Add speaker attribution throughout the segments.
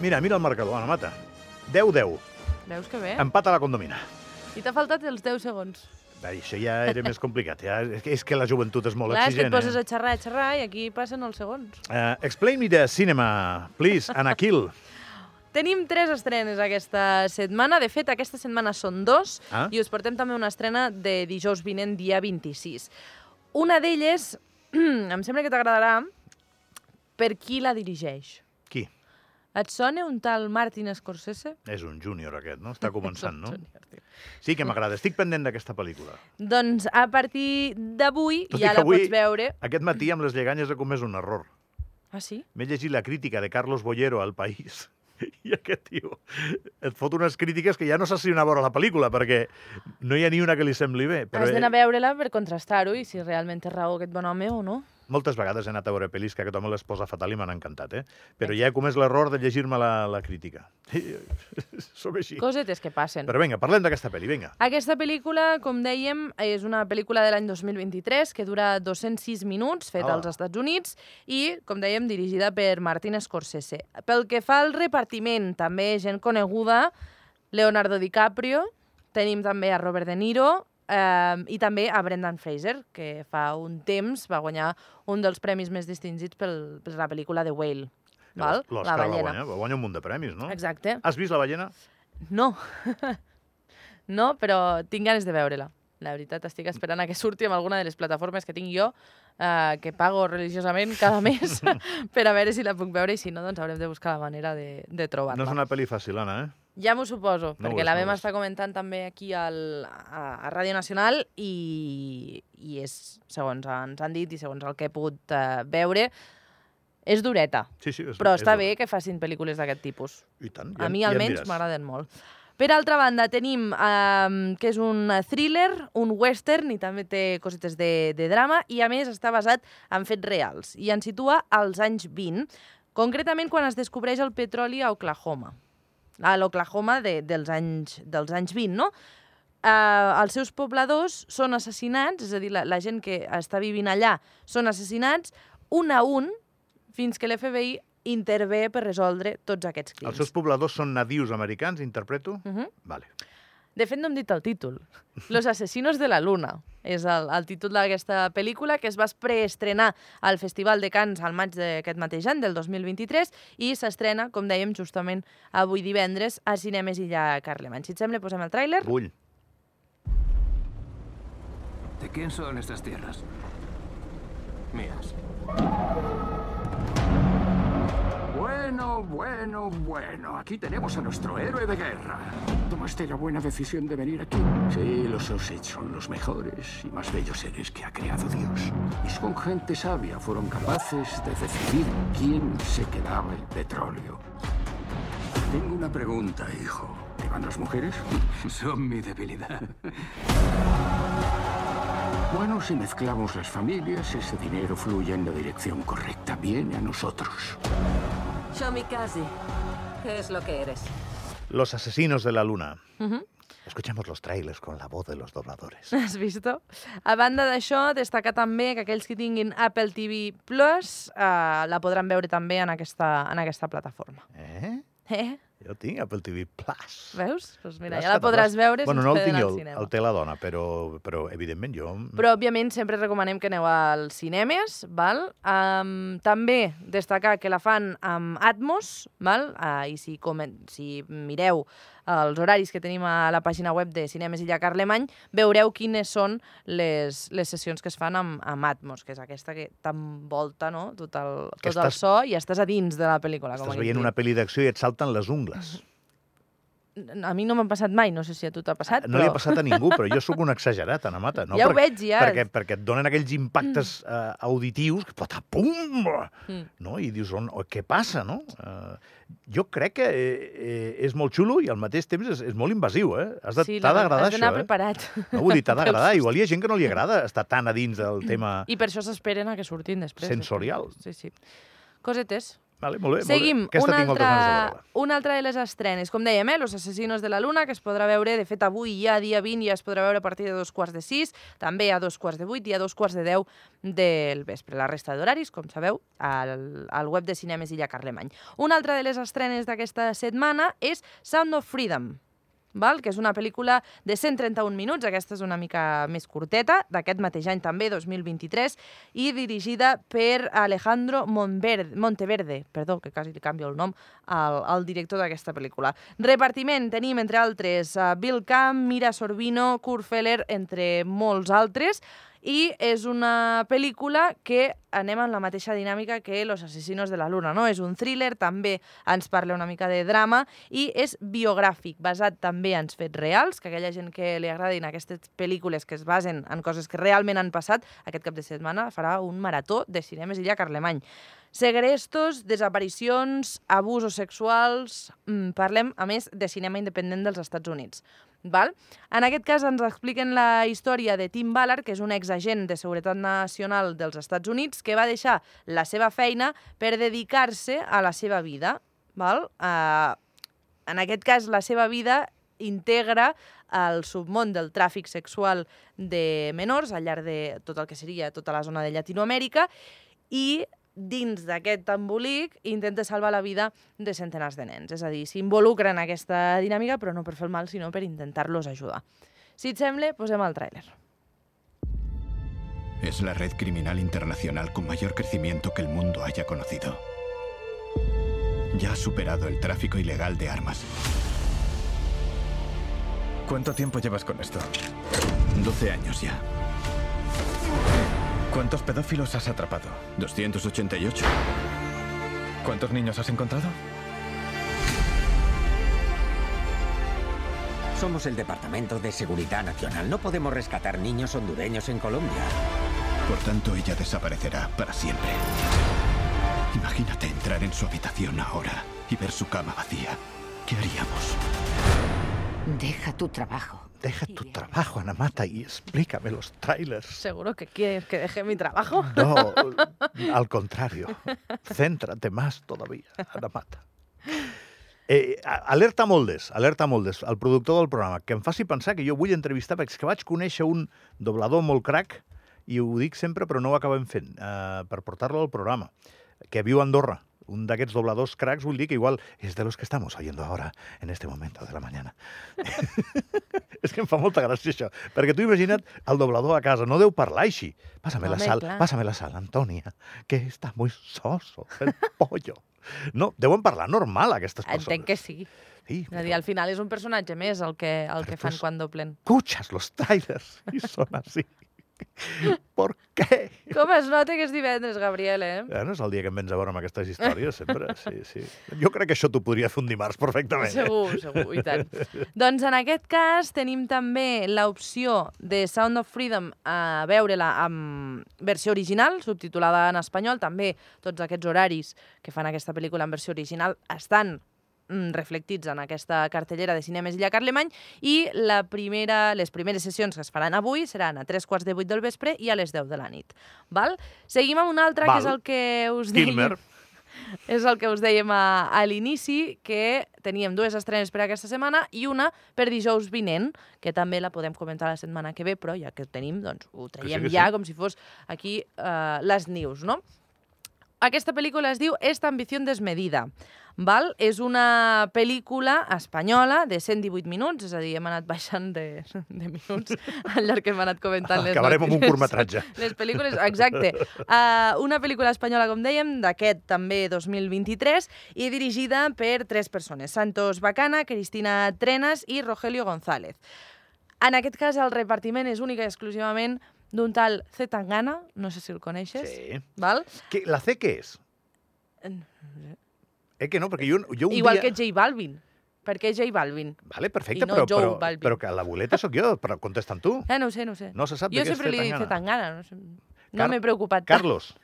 Speaker 1: Mira, mira el marcador, Ana Mata. 10-10.
Speaker 2: Veus que bé?
Speaker 1: Empat a la condomina.
Speaker 2: I t'ha faltat els 10 segons.
Speaker 1: Ai, això ja era més complicat. Ja, és, que, és que la joventut és molt
Speaker 2: Clar, és que
Speaker 1: exigent.
Speaker 2: et poses
Speaker 1: eh?
Speaker 2: a xerrar, a xerrar, i aquí passen els segons.
Speaker 1: Eh, explain me the cinema, please, Anakil.
Speaker 2: Tenim tres estrenes aquesta setmana. De fet, aquesta setmana són dos
Speaker 1: Ah.
Speaker 2: i us portem també una estrena de dijous vinent, dia 26. Una d'elles, em sembla que t'agradarà, per qui la dirigeix.
Speaker 1: Qui?
Speaker 2: Et sona un tal Martin Scorsese?
Speaker 1: És un júnior aquest, no? Està començant, no?
Speaker 2: Junior, tio.
Speaker 1: Sí que m'agrada. Estic pendent d'aquesta pel·lícula.
Speaker 2: Doncs a partir d'avui
Speaker 1: Tot i
Speaker 2: ja
Speaker 1: que
Speaker 2: la
Speaker 1: avui-
Speaker 2: pots veure.
Speaker 1: Aquest matí amb les lleganyes he comès un error.
Speaker 2: Ah, sí?
Speaker 1: M'he llegit la crítica de Carlos Bollero al País i aquest tio et fot unes crítiques que ja no saps si anar a veure la pel·lícula perquè no hi ha ni una que li sembli bé. Però
Speaker 2: Has d'anar a
Speaker 1: eh,
Speaker 2: veure-la per contrastar-ho i si realment té raó aquest bon home o no.
Speaker 1: moltes vegades he anat a veure pel·lis que aquest home les posa fatal i m'han encantat, eh? Però ja he comès l'error de llegir-me la, la crítica. Som així.
Speaker 2: Cosetes que passen.
Speaker 1: Però vinga, parlem d'aquesta pel·li, vinga.
Speaker 2: Aquesta pel·lícula, com dèiem, és una pel·lícula de l'any 2023 que dura 206 minuts, feta
Speaker 1: Hola.
Speaker 2: als Estats Units, i, com dèiem, dirigida per Martin Scorsese. Pel que fa al repartiment, també gent coneguda, Leonardo DiCaprio, tenim també a Robert De Niro, eh, i també a Brendan Fraser, que fa un temps va guanyar un dels premis més distingits pel, per la pel·lícula The Whale. Val? La
Speaker 1: L'Òscar va
Speaker 2: ballena.
Speaker 1: guanyar, va guanyar un munt de premis, no?
Speaker 2: Exacte.
Speaker 1: Has vist la ballena?
Speaker 2: No. no, però tinc ganes de veure-la. La veritat, estic esperant a que surti amb alguna de les plataformes que tinc jo, eh, que pago religiosament cada mes, per a veure si la puc veure i si no, doncs haurem de buscar la manera de, de trobar-la.
Speaker 1: No és una pel·li fàcil, Anna, eh?
Speaker 2: Ja m'ho suposo,
Speaker 1: No ho
Speaker 2: perquè
Speaker 1: és,
Speaker 2: la
Speaker 1: no ho
Speaker 2: vam
Speaker 1: és.
Speaker 2: estar comentant també aquí al, a, a Ràdio Nacional i, i és, segons ens han dit i segons el que he pogut eh, veure, és dureta,
Speaker 1: Sí, sí. És,
Speaker 2: però
Speaker 1: és
Speaker 2: està
Speaker 1: dura.
Speaker 2: bé que facin pel·lícules d'aquest tipus.
Speaker 1: I tant, ja,
Speaker 2: A mi
Speaker 1: ja em
Speaker 2: almenys
Speaker 1: diràs.
Speaker 2: m'agraden molt. Per altra banda, tenim um, que és un thriller, un western, i també té cosetes de, de drama, i a més està basat en fets reals, i ens situa als anys 20, concretament quan es descobreix el petroli a Oklahoma, a l'Oklahoma de, dels, anys, dels anys 20, no? eh, els seus pobladors són assassinats, és a dir, la, la gent que està vivint allà són assassinats, un a un, fins que l'FBI intervé per resoldre tots aquests crims.
Speaker 1: Els seus pobladors són nadius americans, interpreto?
Speaker 2: Mhm.
Speaker 1: Vale.
Speaker 2: De fet, no hem dit el títol. Los asesinos de la luna és el, el títol d'aquesta pel·lícula que es va preestrenar al Festival de Cants al maig d'aquest mateix any, del 2023, i s'estrena, com dèiem, justament avui divendres a Cinemes Illa Carlemany. Si et sembla, posem el tràiler.
Speaker 1: Vull.
Speaker 3: ¿De quién son estas tierras? Mías. Bueno, bueno, bueno. Aquí tenemos a nuestro héroe de guerra.
Speaker 4: Tomaste la buena decisión de venir aquí.
Speaker 3: Sí, los Osage son los mejores y más bellos seres que ha creado Dios.
Speaker 4: Y con gente sabia fueron capaces de decidir quién se quedaba el petróleo.
Speaker 3: Tengo una pregunta, hijo.
Speaker 4: ¿Te van las mujeres?
Speaker 3: Son mi debilidad.
Speaker 4: Bueno, si mezclamos las familias, ese dinero fluye en la dirección correcta. Viene a nosotros.
Speaker 5: Shomikaze, ¿qué es lo que eres?
Speaker 1: Los asesinos de la luna.
Speaker 2: Mhm.
Speaker 1: Escuchemos los trailers con la voz de los dobladores.
Speaker 2: Has vist? A banda d'això, destacar també que aquells que tinguin Apple TV Plus eh, la podran veure també en aquesta, en aquesta plataforma.
Speaker 1: Eh?
Speaker 2: Eh?
Speaker 1: Jo tinc Apple TV Plus.
Speaker 2: Veus? Doncs mira,
Speaker 1: Plus,
Speaker 2: ja la podràs
Speaker 1: Plus.
Speaker 2: veure
Speaker 1: bueno,
Speaker 2: si
Speaker 1: no
Speaker 2: ens
Speaker 1: el tinc
Speaker 2: queden
Speaker 1: jo,
Speaker 2: al
Speaker 1: el-
Speaker 2: cinema.
Speaker 1: el té la dona, però, però evidentment jo...
Speaker 2: Però, òbviament, sempre recomanem que aneu als cinemes, val? Um, també destacar que la fan amb Atmos, val? Uh, i si, comen si mireu eh, els horaris que tenim a la pàgina web de Cinemes Illa Carlemany, veureu quines són les, les sessions que es fan amb, amb Atmos, que és aquesta que t'envolta no? tot, el,
Speaker 1: Que
Speaker 2: tot el
Speaker 1: estàs-
Speaker 2: so i estàs a dins de la pel·lícula.
Speaker 1: Estàs
Speaker 2: com
Speaker 1: veient una pel·li d'acció i et salten les ungles.
Speaker 2: A mi no m'ha passat mai, no sé si a tu t'ha passat,
Speaker 1: Ah, No li
Speaker 2: però...
Speaker 1: ha passat a ningú, però jo sóc un exagerat, Ana Mata. No?
Speaker 2: Ja ho
Speaker 1: Perquè-
Speaker 2: veig, ja. Mm.
Speaker 1: Perquè, perquè et donen aquells impactes eh, auditius que patapum! No? I dius, on, o, què passa, no? Eh, jo crec que eh, eh, és molt xulo i al mateix temps és, és molt invasiu, eh? Has de-
Speaker 2: Sí,
Speaker 1: T'ha
Speaker 2: la-
Speaker 1: d'agradar
Speaker 2: has
Speaker 1: això,
Speaker 2: d'anar
Speaker 1: eh?
Speaker 2: preparat.
Speaker 1: No, vull dir, t'ha d'agradar. Igual hi ha gent que no li agrada estar tan a dins del
Speaker 2: Mm.
Speaker 1: tema...
Speaker 2: I per això s'esperen a que surtin després.
Speaker 1: Sensorial.
Speaker 2: Sí, sí. Cosetes.
Speaker 1: Vale, molt bé,
Speaker 2: Seguim.
Speaker 1: molt bé. Aquesta
Speaker 2: una,
Speaker 1: tinc moltes ganes de
Speaker 2: altra,
Speaker 1: veure-la.
Speaker 2: una altra de les estrenes. Com dèiem, eh? Los asesinos de la luna, que es podrà veure, de fet, avui ja, dia 20, ja es podrà veure a partir de dos quarts de sis, també a dos quarts de vuit i a dos quarts de deu del vespre. La resta d'horaris, com sabeu, al, al web de Cinemes Illa Carlemany. Una altra de les estrenes d'aquesta setmana és Sound of Freedom, val? que és una pel·lícula de 131 minuts, aquesta és una mica més curteta, d'aquest mateix any també, 2023, i dirigida per Alejandro Montverde, Monteverde, perdó, que quasi li canvio el nom al, al director d'aquesta pel·lícula. Repartiment tenim, entre altres, a Bill Camp, Mira Sorbino, Kurt Feller, entre molts altres, i és una pel·lícula que anem en la mateixa dinàmica que Los asesinos de la luna, no? És un thriller, també ens parla una mica de drama i és biogràfic, basat també en fets reals, que aquella gent que li agradin aquestes pel·lícules que es basen en coses que realment han passat, aquest cap de setmana farà un marató de cinemes Illa Carlemany. Segrestos, desaparicions, abusos sexuals... Mm, parlem, a més, de cinema independent dels Estats Units. Val? En aquest cas ens expliquen la història de Tim Ballard, que és un exagent de Seguretat Nacional dels Estats Units, que va deixar la seva feina per dedicar-se a la seva vida. Val? Uh, en aquest cas, la seva vida integra el submón del tràfic sexual de menors al llarg de tot el que seria tota la zona de Llatinoamèrica i dins d'aquest embolic intenta salvar la vida de centenars de nens. És a dir, s'involucra en aquesta dinàmica, però no per fer el mal, sinó per intentar-los ajudar. Si et sembla, posem el tràiler.
Speaker 4: Es la red criminal internacional con mayor crecimiento que el mundo haya conocido. Ya ha superado el tráfico ilegal de armas.
Speaker 6: ¿Cuánto tiempo llevas con esto?
Speaker 4: 12 años ya.
Speaker 6: ¿Cuántos pedófilos has atrapado?
Speaker 4: 288.
Speaker 6: ¿Cuántos niños has encontrado?
Speaker 7: Somos el Departamento de Seguridad Nacional. No podemos rescatar niños hondureños en Colombia.
Speaker 4: Por tanto, ella desaparecerá para siempre. Imagínate entrar en su habitación ahora y ver su cama vacía. ¿Qué haríamos?
Speaker 5: Deja tu trabajo.
Speaker 1: Deja tu trabajo, Ana Mata, i explícame los trailers.
Speaker 2: Seguro que quieres que deje mi trabajo.
Speaker 1: No, al contrario. Céntrate más todavía, Ana Mata. Eh, a- alerta Moldes, alerta Moldes, el productor del programa, que em faci pensar que jo vull entrevistar, perquè és que vaig conèixer un doblador molt crac, i ho dic sempre, però no ho acabem fent, eh, per portar-lo al programa, que viu a Andorra, un d'aquests dobladors cracs, vull dir que igual és de los que estamos oyendo ahora, en este momento de la mañana. és que em fa molta gràcia això, perquè tu imagina't el doblador a casa, no deu parlar així. Pásame la
Speaker 2: Home,
Speaker 1: sal,
Speaker 2: clar.
Speaker 1: pásame la sal, Antònia, que està muy soso el pollo. No, deuen parlar normal, aquestes persones.
Speaker 2: Entenc que sí.
Speaker 1: Sí,
Speaker 2: És a
Speaker 1: però
Speaker 2: dir, al final és un personatge més el que, el que
Speaker 1: Però
Speaker 2: fan
Speaker 1: tu-
Speaker 2: quan doblen.
Speaker 1: escuchas los trailers y son así. ¿Por qué?
Speaker 2: Com es nota que és divendres, Gabriel, eh?
Speaker 1: Ja no és el dia que em vens a veure amb aquestes històries, sempre. Sí, sí. Jo crec que això t'ho podria fer un dimarts perfectament. eh?
Speaker 2: Segur, segur, i tant. doncs en aquest cas tenim també l'opció de Sound of Freedom a veure-la amb versió original, subtitulada en espanyol. També tots aquests horaris que fan aquesta pel·lícula en versió original estan mm, reflectits en aquesta cartellera de cinemes Illa Carlemany i la primera, les primeres sessions que es faran avui seran a tres quarts de vuit del vespre i a les 10 de la nit. Val? Seguim amb un altre, que és
Speaker 1: Val.
Speaker 2: el que us deia.
Speaker 1: Kilmer.
Speaker 2: És el que us dèiem a, a l'inici, que teníem dues estrenes per aquesta setmana i una per dijous vinent, que també la podem comentar la setmana que ve, però ja que ho tenim, doncs ho traiem
Speaker 1: que sí.
Speaker 2: ja, com si fos aquí uh, les news, no? Aquesta pel·lícula es diu Esta ambición desmedida. Val? És una pel·lícula espanyola de 118 minuts, és a dir, hem anat baixant de, de minuts al llarg que hem anat comentant les
Speaker 1: Ah, Acabarem amb un
Speaker 2: notícies.
Speaker 1: curtmetratge.
Speaker 2: Les pel·lícules, exacte. Uh, una pel·lícula espanyola, com dèiem, d'aquest també 2023, i dirigida per tres persones, Santos Bacana, Cristina Trenas i Rogelio González. En aquest cas, el repartiment és única i exclusivament d'un tal C. Tangana, no sé si el coneixes,
Speaker 1: Sí.
Speaker 2: val?
Speaker 1: Què- la C què és? Eh que no, perquè jo, jo un
Speaker 2: Igual
Speaker 1: dia...
Speaker 2: que J Balvin. perquè és J Balvin.
Speaker 1: Vale, perfecte,
Speaker 2: I no
Speaker 1: però,
Speaker 2: Joe
Speaker 1: però,
Speaker 2: Balvin.
Speaker 1: però que la boleta sóc jo, però contesta'm tu.
Speaker 2: Ah, no ho sé, no ho sé.
Speaker 1: No se sap de
Speaker 2: jo
Speaker 1: què és
Speaker 2: sempre li he dit
Speaker 1: Zetangana.
Speaker 2: Zetangana. No, sé. no
Speaker 1: Car-
Speaker 2: m'he preocupat tant.
Speaker 1: Carlos,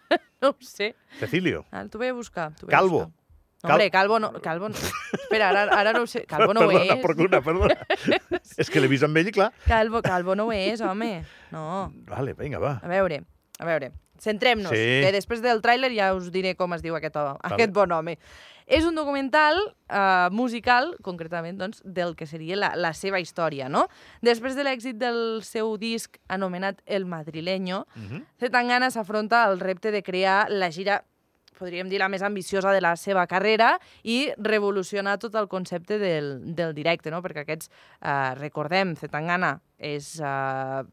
Speaker 2: No ho sé.
Speaker 1: Cecilio,
Speaker 2: Ah, t'ho vaig a buscar. t'ho vaig a
Speaker 1: Calvo.
Speaker 2: buscar. No, hombre, Calvo no. Calvo no. Espera, ara, ara no ho sé. Calvo no ho
Speaker 1: perdona,
Speaker 2: és.
Speaker 1: perdona, perdona. és que l'he vist amb ell i clar.
Speaker 2: Calvo, Calvo no ho és, home. No.
Speaker 1: Vale, vinga, va.
Speaker 2: A veure, a veure. Centrem-nos,
Speaker 1: Sí.
Speaker 2: que després del tràiler ja us diré com es diu aquest, home, aquest bon home. És un documental eh, musical, concretament, doncs, del que seria la, la seva història, no? Després de l'èxit del seu disc anomenat El Madrileño,
Speaker 1: Uh -huh.
Speaker 2: Zetangana s'afronta al repte de crear la gira podríem dir, la més ambiciosa de la seva carrera i revolucionar tot el concepte del, del directe, no? perquè aquests, eh, recordem, Zetangana és, eh,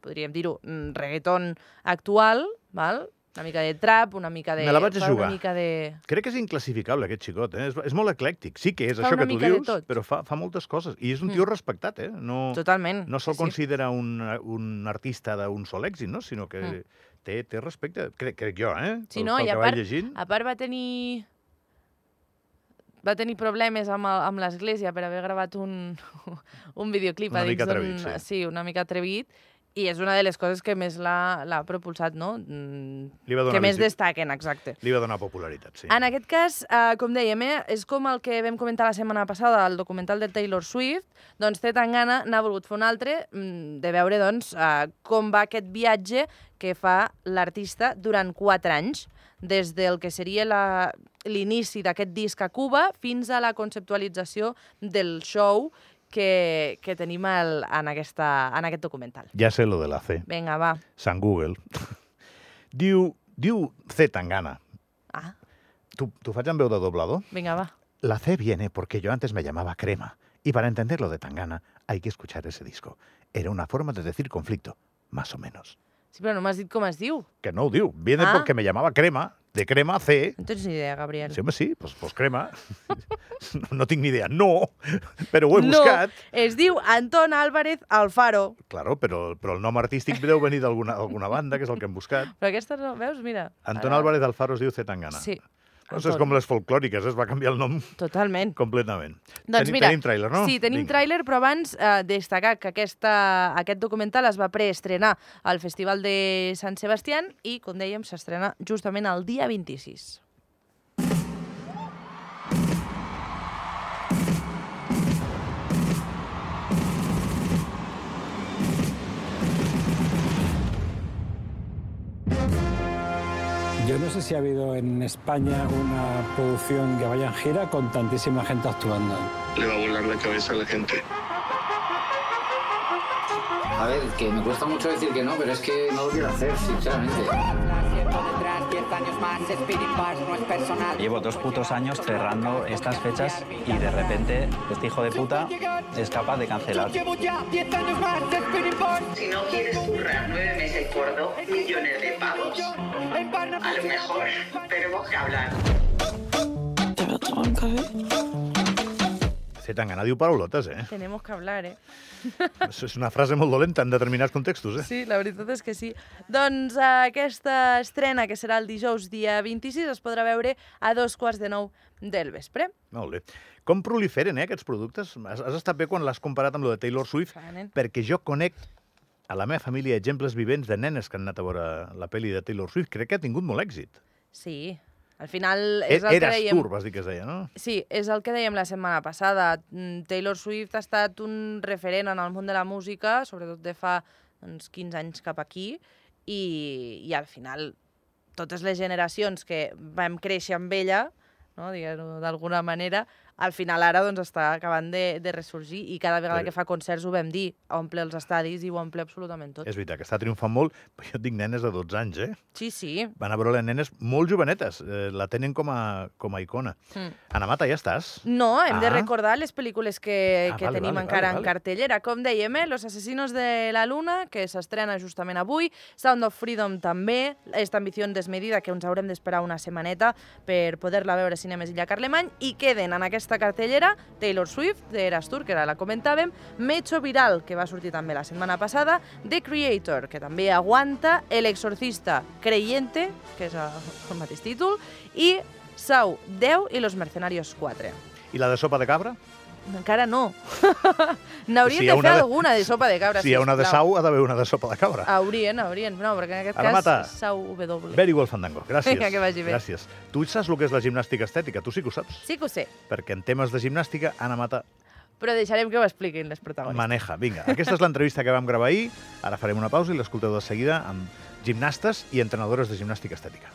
Speaker 2: podríem dir-ho, mm, reggaeton actual, val? una mica de trap, una mica de...
Speaker 1: Me la vaig a
Speaker 2: fa
Speaker 1: jugar.
Speaker 2: Una mica de...
Speaker 1: Crec que és inclassificable, aquest xicot. Eh? És, és molt eclèctic. Sí que és
Speaker 2: Fa
Speaker 1: això
Speaker 2: una
Speaker 1: que tu
Speaker 2: mica de
Speaker 1: dius,
Speaker 2: tot.
Speaker 1: però fa, fa moltes coses. I és un tio respectat, eh? No,
Speaker 2: Totalment.
Speaker 1: no se'l
Speaker 2: sí, sí.
Speaker 1: considera un, un artista d'un sol èxit, no? sinó que
Speaker 2: Mm.
Speaker 1: té, té respecte, crec, crec jo, eh?
Speaker 2: Sí, no,
Speaker 1: pel
Speaker 2: i a
Speaker 1: que
Speaker 2: part-
Speaker 1: vaig llegint.
Speaker 2: A part va tenir va tenir problemes amb, el- amb l'església per haver gravat un, un videoclip
Speaker 1: Una
Speaker 2: a dins
Speaker 1: mica
Speaker 2: d'un...
Speaker 1: atrevit, sí.
Speaker 2: sí, una mica atrevit. I és una de les coses que més l'ha l'ha propulsat, no? Mm,
Speaker 1: Li va donar
Speaker 2: Que més
Speaker 1: visi-
Speaker 2: destaquen, exacte.
Speaker 1: Li va donar popularitat, sí.
Speaker 2: En aquest cas, eh, com dèiem, eh, és com el que vam comentar la setmana passada, el documental de Taylor Swift, doncs té tan gana, n'ha volgut fer un altre, mm, de veure doncs, eh, com va aquest viatge que fa l'artista durant quatre anys, des del que seria la- l'inici d'aquest disc a Cuba fins a la conceptualització del show que, que tenim el, en, aquesta, en aquest documental.
Speaker 1: Ja sé lo de la C,
Speaker 2: Vinga, va.
Speaker 1: Sant Google. diu, diu C Tangana.
Speaker 2: Ah,
Speaker 1: ¿Tú, ¿Tú faig en veu de doblador?
Speaker 2: vinga, va.
Speaker 1: La C viene porque yo antes me llamaba Crema. Y para entender lo de Tangana hay que escuchar ese disco. Era una forma de decir conflicto, más o menos.
Speaker 2: Sí, però no m'has dit com es diu.
Speaker 1: Que no, diu. Viene
Speaker 2: Ah.
Speaker 1: porque me llamaba Crema, de Crema C.
Speaker 2: No tens ni idea, Gabriel.
Speaker 1: Sí, home, sí, pues, pues crema. No, no tinc ni idea. No, però ho he
Speaker 2: no,
Speaker 1: buscat.
Speaker 2: es diu Anton Álvarez Alfaro.
Speaker 1: Claro, però, però el nom artístic deu venir d'alguna alguna banda, que és el que hem buscat.
Speaker 2: Però aquesta no, veus, mira.
Speaker 1: Anton
Speaker 2: Ara-
Speaker 1: Álvarez Alfaro es diu Zetangana.
Speaker 2: Sí.
Speaker 1: Doncs és
Speaker 2: Anton.
Speaker 1: com les folclòriques, es va canviar el nom
Speaker 2: Totalment.
Speaker 1: completament.
Speaker 2: Doncs
Speaker 1: tenim,
Speaker 2: mira,
Speaker 1: tenim tràiler, no?
Speaker 2: Sí, tenim
Speaker 1: Vinga.
Speaker 2: tràiler, però abans eh, destacar que aquesta, aquest documental es va preestrenar al Festival de Sant Sebastián i, com dèiem, s'estrena justament el dia 26.
Speaker 8: Yo no sé si ha habido en España una producción que vaya en gira con tantísima gente actuando.
Speaker 9: le va a volar la cabeza a la gente.
Speaker 10: A ver, que me cuesta mucho decir que no, pero es que no lo quiero hacer, sinceramente.
Speaker 11: Llevo dos putos años cerrando estas fechas y de repente este hijo de puta es capaz de cancelar.
Speaker 9: Si no quieres currar nueve meses gordo, millones de pavos. A lo mejor tenemos que hablar.
Speaker 1: Zetangana diu paraulotes, eh?
Speaker 2: Tenemos que hablar, eh?
Speaker 1: Això és una frase molt dolenta en determinats contextos, eh?
Speaker 2: Sí, la veritat és que sí. Doncs eh, aquesta estrena, que serà el dijous dia 26, es podrà veure a dos quarts de nou del vespre.
Speaker 1: Molt bé. Com proliferen, eh, aquests productes? Has, has estat bé quan l'has comparat amb lo de Taylor Swift,
Speaker 2: Franen.
Speaker 1: perquè jo conec a la meva família exemples vivents de nenes que han anat a veure la pel·li de Taylor Swift. Crec que ha tingut molt èxit.
Speaker 2: Sí, al final és
Speaker 1: És
Speaker 2: el que
Speaker 1: Eras
Speaker 2: dèiem...
Speaker 1: Tour, vas dir que es deia, no?
Speaker 2: Sí, és el que dèiem la setmana passada. Mm, Taylor Swift ha estat un referent en el món de la música, sobretot de fa uns 15 anys cap aquí, i, i al final totes les generacions que vam créixer amb ella, no, diguem-ho d'alguna manera, al final ara doncs, està acabant de, de ressorgir i cada vegada
Speaker 1: Però-
Speaker 2: que fa concerts ho vam dir, omple els estadis i ho omple absolutament tot.
Speaker 1: És veritat, que està triomfant molt, però jo et dic nenes de 12 anys, eh?
Speaker 2: Sí, sí.
Speaker 1: Van a veure les nenes molt jovenetes, eh, la tenen com a, com a icona.
Speaker 2: Mm.
Speaker 1: Ana Mata, ja estàs?
Speaker 2: No, hem ah. de
Speaker 1: Ah.
Speaker 2: recordar les pel·lícules que,
Speaker 1: Ah,
Speaker 2: ah, que
Speaker 1: vale,
Speaker 2: vale, tenim
Speaker 1: vale,
Speaker 2: vale, encara
Speaker 1: vale, vale.
Speaker 2: vale, en cartellera. Com dèiem, eh? Los asesinos de la luna, que s'estrena justament avui, Sound of Freedom també, Esta ambició desmedida, que ens haurem d'esperar una setmaneta per poder-la veure a Cinemes Illa Carlemany, i queden en aquesta cartellera Taylor Swift, de Eras Tour, que ara la comentàvem, Mecho Viral, que va sortir també la setmana passada, The Creator, que també aguanta, El Exorcista Creyente, que és el, el mateix títol, i Sau 10 i Los Mercenarios 4.
Speaker 1: I la de sopa de cabra?
Speaker 2: Encara no. N'haurien
Speaker 1: Si hi ha
Speaker 2: de fer
Speaker 1: una de-
Speaker 2: alguna de sopa de cabra,
Speaker 1: Si hi ha una de
Speaker 2: sisplau.
Speaker 1: sau, ha d'haver una de sopa de cabra.
Speaker 2: Haurien, haurien. No, perquè en aquest
Speaker 1: Ara
Speaker 2: cas
Speaker 1: mata.
Speaker 2: és sau W.
Speaker 1: Very well, Fandango. Gràcies.
Speaker 2: Vinga, que vagi bé.
Speaker 1: Gràcies. Tu saps el que és la gimnàstica estètica? Tu sí que ho saps.
Speaker 2: Sí que ho sé,
Speaker 1: Perquè en temes de gimnàstica, Anna Mata
Speaker 2: però deixarem que ho expliquin les protagonistes.
Speaker 1: maneja. Vinga, aquesta és l'entrevista que vam gravar ahir. Ara farem una pausa i l'escolteu de seguida amb gimnastes i entrenadores de gimnàstica estètica.